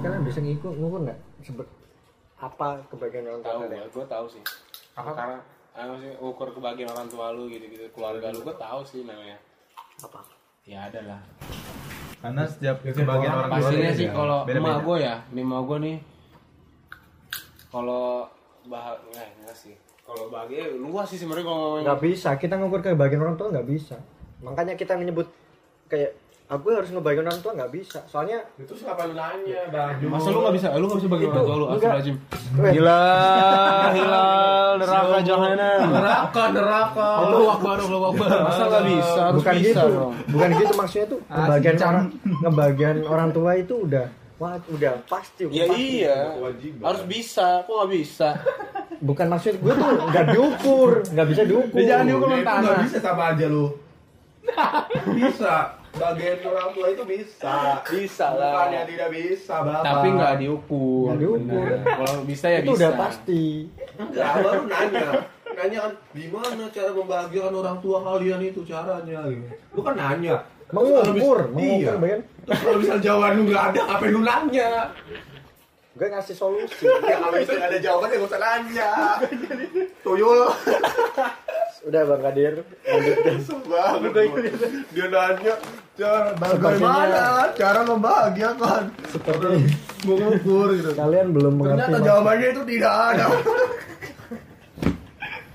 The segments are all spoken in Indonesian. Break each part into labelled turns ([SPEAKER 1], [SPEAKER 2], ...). [SPEAKER 1] gua ngomong nggak sebet apa kebahagiaan orang tua
[SPEAKER 2] tahu
[SPEAKER 1] kalian?
[SPEAKER 2] gue gue tahu sih
[SPEAKER 3] Apa?
[SPEAKER 2] karena eh, maksudnya ukur kebahagiaan orang tua lu gitu gitu keluarga lu gue tahu sih namanya
[SPEAKER 1] apa
[SPEAKER 2] ya ada lah
[SPEAKER 3] Karena setiap kebahagiaan orang tua
[SPEAKER 2] pastinya sih
[SPEAKER 3] beda.
[SPEAKER 2] kalau
[SPEAKER 3] Beda-beda.
[SPEAKER 2] emak gue ya emak gue nih kalau bahagia enggak sih kalau bahagia luas sih sebenarnya kalau ngomongin
[SPEAKER 1] nggak bisa kita ngukur kebahagiaan orang tua nggak bisa makanya kita menyebut kayak aku harus ngebahagiain orang tua nggak bisa soalnya
[SPEAKER 2] itu siapa lu nanya
[SPEAKER 3] Baju.
[SPEAKER 2] masa lu nggak bisa eh, lu nggak bisa bagi orang tua lu
[SPEAKER 1] enggak.
[SPEAKER 2] astagfirullahaladzim
[SPEAKER 1] Weh,
[SPEAKER 4] Gila, hilal, neraka jahanam.
[SPEAKER 3] neraka neraka.
[SPEAKER 2] Allah wakbar Allah wakbar
[SPEAKER 4] Masa nggak bisa? Harus
[SPEAKER 1] bukan
[SPEAKER 4] bisa
[SPEAKER 1] gitu
[SPEAKER 4] dong.
[SPEAKER 1] bukan gitu maksudnya tuh kebahagiaan
[SPEAKER 3] Chan.
[SPEAKER 1] orang kebahagiaan orang tua itu udah wah udah pasti
[SPEAKER 2] ya
[SPEAKER 1] pasti.
[SPEAKER 2] iya harus bisa kok nggak bisa
[SPEAKER 1] bukan maksud gue tuh nggak diukur nggak bisa diukur
[SPEAKER 4] Ya, jangan diukur.
[SPEAKER 3] Lu
[SPEAKER 4] Hukuman
[SPEAKER 3] itu nggak
[SPEAKER 4] tanah.
[SPEAKER 3] bisa sama aja lu. bisa. Bagian orang tua itu bisa.
[SPEAKER 2] bisa
[SPEAKER 3] Bukannya tidak bisa, Bapak.
[SPEAKER 2] tapi nggak diukur
[SPEAKER 1] Nggak diukur.
[SPEAKER 2] Benar. kalau bisa ya
[SPEAKER 1] itu
[SPEAKER 2] bisa
[SPEAKER 1] udah pasti
[SPEAKER 3] Enggak, baru nanya. Nanya kan gimana cara membahagiakan orang tua kalian itu caranya gitu. Lu kan nanya.
[SPEAKER 1] mengukur
[SPEAKER 3] Terus kalau bisa-
[SPEAKER 1] mengukur
[SPEAKER 3] iya.
[SPEAKER 1] bagian
[SPEAKER 3] Terus kalau misal jawaban lu nggak ada, ngapain lu nanya?
[SPEAKER 1] gue ngasih solusi
[SPEAKER 3] Ya kalau misal nggak ada jawaban ya nggak usah nanya. Tuyul.
[SPEAKER 1] udah bang Kadir lanjutkan
[SPEAKER 3] Banget dia nanya cara bagaimana
[SPEAKER 1] Sebagiannya-
[SPEAKER 3] cara membahagiakan seperti mengukur gitu.
[SPEAKER 1] kalian belum mengerti
[SPEAKER 3] Ternyata
[SPEAKER 1] maksud-
[SPEAKER 3] jawabannya itu tidak ada.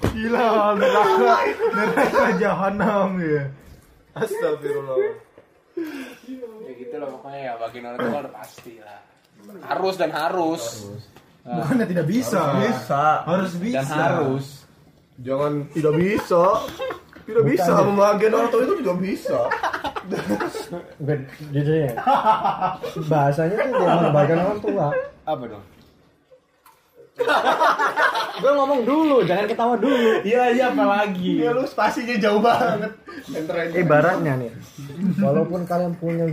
[SPEAKER 4] Gila, neraka, neraka jahanam ya. Astagfirullah.
[SPEAKER 2] ya gitu loh pokoknya ya bagi orang tua udah pasti lah harus dan harus
[SPEAKER 4] Bukannya tidak bisa.
[SPEAKER 3] Bisa.
[SPEAKER 4] Harus bisa.
[SPEAKER 2] dan harus
[SPEAKER 3] Jangan tidak bisa. Tidak bisa membahagiakan orang tua itu tidak bisa.
[SPEAKER 1] Bukan, gitu ya. Bahasanya tuh dia mengembalikan orang tua.
[SPEAKER 2] apa dong
[SPEAKER 1] Gue ngomong dulu, jangan ketawa dulu.
[SPEAKER 2] iya iya apa lagi
[SPEAKER 3] Iya lu spasinya jauh banget. Enter
[SPEAKER 1] Ibaratnya nih, walaupun kalian punya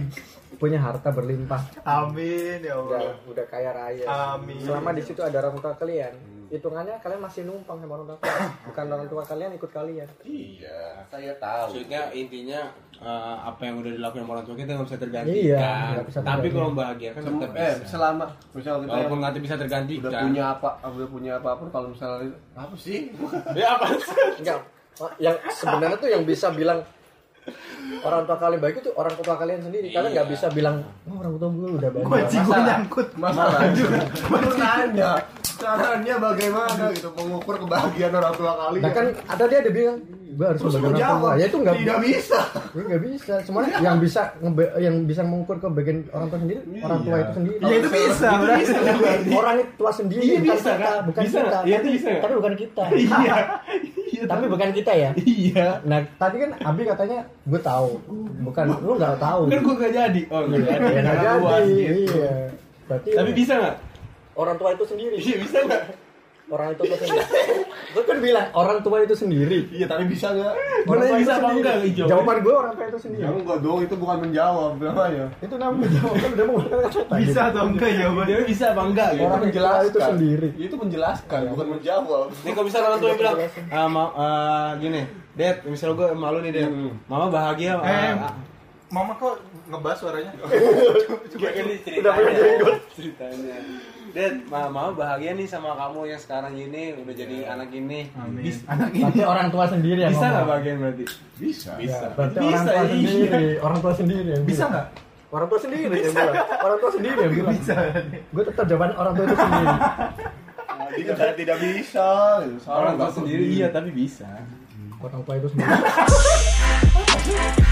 [SPEAKER 1] punya harta berlimpah,
[SPEAKER 4] Amin ya Allah.
[SPEAKER 1] udah, udah kaya raya.
[SPEAKER 4] Amin.
[SPEAKER 1] Selama di situ ada orang tua kalian, hitungannya kalian masih numpang sama orang tua, kalian. bukan orang tua kalian ikut kalian.
[SPEAKER 3] Iya, saya tahu.
[SPEAKER 2] maksudnya intinya eh, apa yang udah dilakukan sama orang tua kita nggak bisa tergantikan
[SPEAKER 1] Iya, nggak bisa
[SPEAKER 2] tapi
[SPEAKER 1] tergantikan.
[SPEAKER 2] kalau bahagia kan tetap
[SPEAKER 3] Eh,
[SPEAKER 2] bisa
[SPEAKER 3] selama misal kita
[SPEAKER 2] walaupun nggak bisa tergantikan
[SPEAKER 3] udah punya apa, udah punya apapun kalau misalnya apa sih?
[SPEAKER 2] ya apa sih?
[SPEAKER 1] Enggak, Oh, yang sebenarnya tuh yang bisa bilang orang tua kalian baik itu orang tua kalian sendiri. Kalian nggak
[SPEAKER 2] Iya.
[SPEAKER 1] bisa bilang, oh, orang tua gue udah
[SPEAKER 4] Gua
[SPEAKER 1] baik.
[SPEAKER 4] cigo nyangkut.
[SPEAKER 3] masalahnya baru nanya caranya bagaimana gitu mengukur kebahagiaan orang tua kali
[SPEAKER 1] Nah kan ada dia ada bilang, gue harus
[SPEAKER 3] terus mau
[SPEAKER 1] membagikan orang tua.
[SPEAKER 3] jawab
[SPEAKER 1] Ya itu nggak
[SPEAKER 3] tidak bisa
[SPEAKER 1] Ya nggak bisa, semuanya yang bisa ngebe- yang bisa mengukur kebagian orang tua sendiri, orang tua itu sendiri.
[SPEAKER 4] Ya Iya. itu bisa. berarti.
[SPEAKER 1] Orang tua sendiri
[SPEAKER 4] Iya,
[SPEAKER 1] bukan
[SPEAKER 4] bisa,
[SPEAKER 1] kita,
[SPEAKER 4] kan?
[SPEAKER 1] bukan
[SPEAKER 4] Bisa,
[SPEAKER 1] kita.
[SPEAKER 4] kan?
[SPEAKER 1] tapi,
[SPEAKER 4] Iya, itu bisa, kan?
[SPEAKER 1] tapi bukan kita.
[SPEAKER 4] Iya. Iya,
[SPEAKER 1] tapi bukan kita ya.
[SPEAKER 4] Iya.
[SPEAKER 1] Nah, tadi kan Abi katanya gue tahu, bukan lu nggak tahu.
[SPEAKER 4] Kan gua gak jadi. Oh, gak
[SPEAKER 1] Ya,
[SPEAKER 4] jadi.
[SPEAKER 1] nggak
[SPEAKER 4] Karena gua
[SPEAKER 1] jadi.
[SPEAKER 4] gitu.
[SPEAKER 1] Iya. Berarti
[SPEAKER 2] tapi bisa nggak
[SPEAKER 1] orang tua itu sendiri,
[SPEAKER 2] iya bisa nggak
[SPEAKER 1] orang itu sendiri. Gue kan bilang orang tua itu sendiri.
[SPEAKER 3] iya tapi bisa nggak
[SPEAKER 4] Gua
[SPEAKER 1] Orang
[SPEAKER 4] nanya
[SPEAKER 1] tua itu
[SPEAKER 4] bisa apa
[SPEAKER 1] sendiri.
[SPEAKER 4] enggak, Ijo?
[SPEAKER 1] Jawaban gue orang tua itu sendiri.
[SPEAKER 3] ya enggak dong itu bukan menjawab namanya
[SPEAKER 1] Itu namanya jawaban udah mau
[SPEAKER 4] Bisa atau enggak jawabannya?
[SPEAKER 2] dia bisa apa enggak gitu
[SPEAKER 1] Orang tua itu sendiri.
[SPEAKER 3] itu menjelaskan bukan menjawab
[SPEAKER 2] Ini kalau bisa orang tua yang bilang, ah, ma- ah, gini, Dad, misal gue malu nih, Dad. Mama bahagia. ah,
[SPEAKER 4] Eh,
[SPEAKER 2] ah."
[SPEAKER 4] Mama kok ngebas suaranya?
[SPEAKER 3] Iya,
[SPEAKER 2] Coba ini ceritanya. Iya, ceritanya. Dad, ma- mama bahagia nih sama kamu yang sekarang ini udah jadi
[SPEAKER 3] Iya.
[SPEAKER 2] anak ini.
[SPEAKER 4] Amin.
[SPEAKER 2] Bis-
[SPEAKER 4] Anak ini.
[SPEAKER 1] Tapi orang tua sendiri yang
[SPEAKER 2] Bisa nggak
[SPEAKER 1] ngomong.
[SPEAKER 2] bahagia berarti?
[SPEAKER 3] bisa
[SPEAKER 1] Ya,
[SPEAKER 2] Bisa.
[SPEAKER 1] berarti
[SPEAKER 2] Bisa,
[SPEAKER 1] orang tua
[SPEAKER 2] iya.
[SPEAKER 1] sendiri, orang tua sendiri yang
[SPEAKER 4] Bisa
[SPEAKER 1] bilang.
[SPEAKER 4] nggak?
[SPEAKER 1] Orang tua sendiri yang bilang. Orang tua sendiri yang bilang.
[SPEAKER 4] Bisa.
[SPEAKER 1] Gue tetap jawaban orang tua itu sendiri.
[SPEAKER 3] tidak tidak bisa gitu. Salah,
[SPEAKER 2] Orang tua iya,
[SPEAKER 3] nggak
[SPEAKER 2] sendiri
[SPEAKER 3] peduli.
[SPEAKER 2] iya, tapi bisa.
[SPEAKER 1] Orang tua itu sendiri.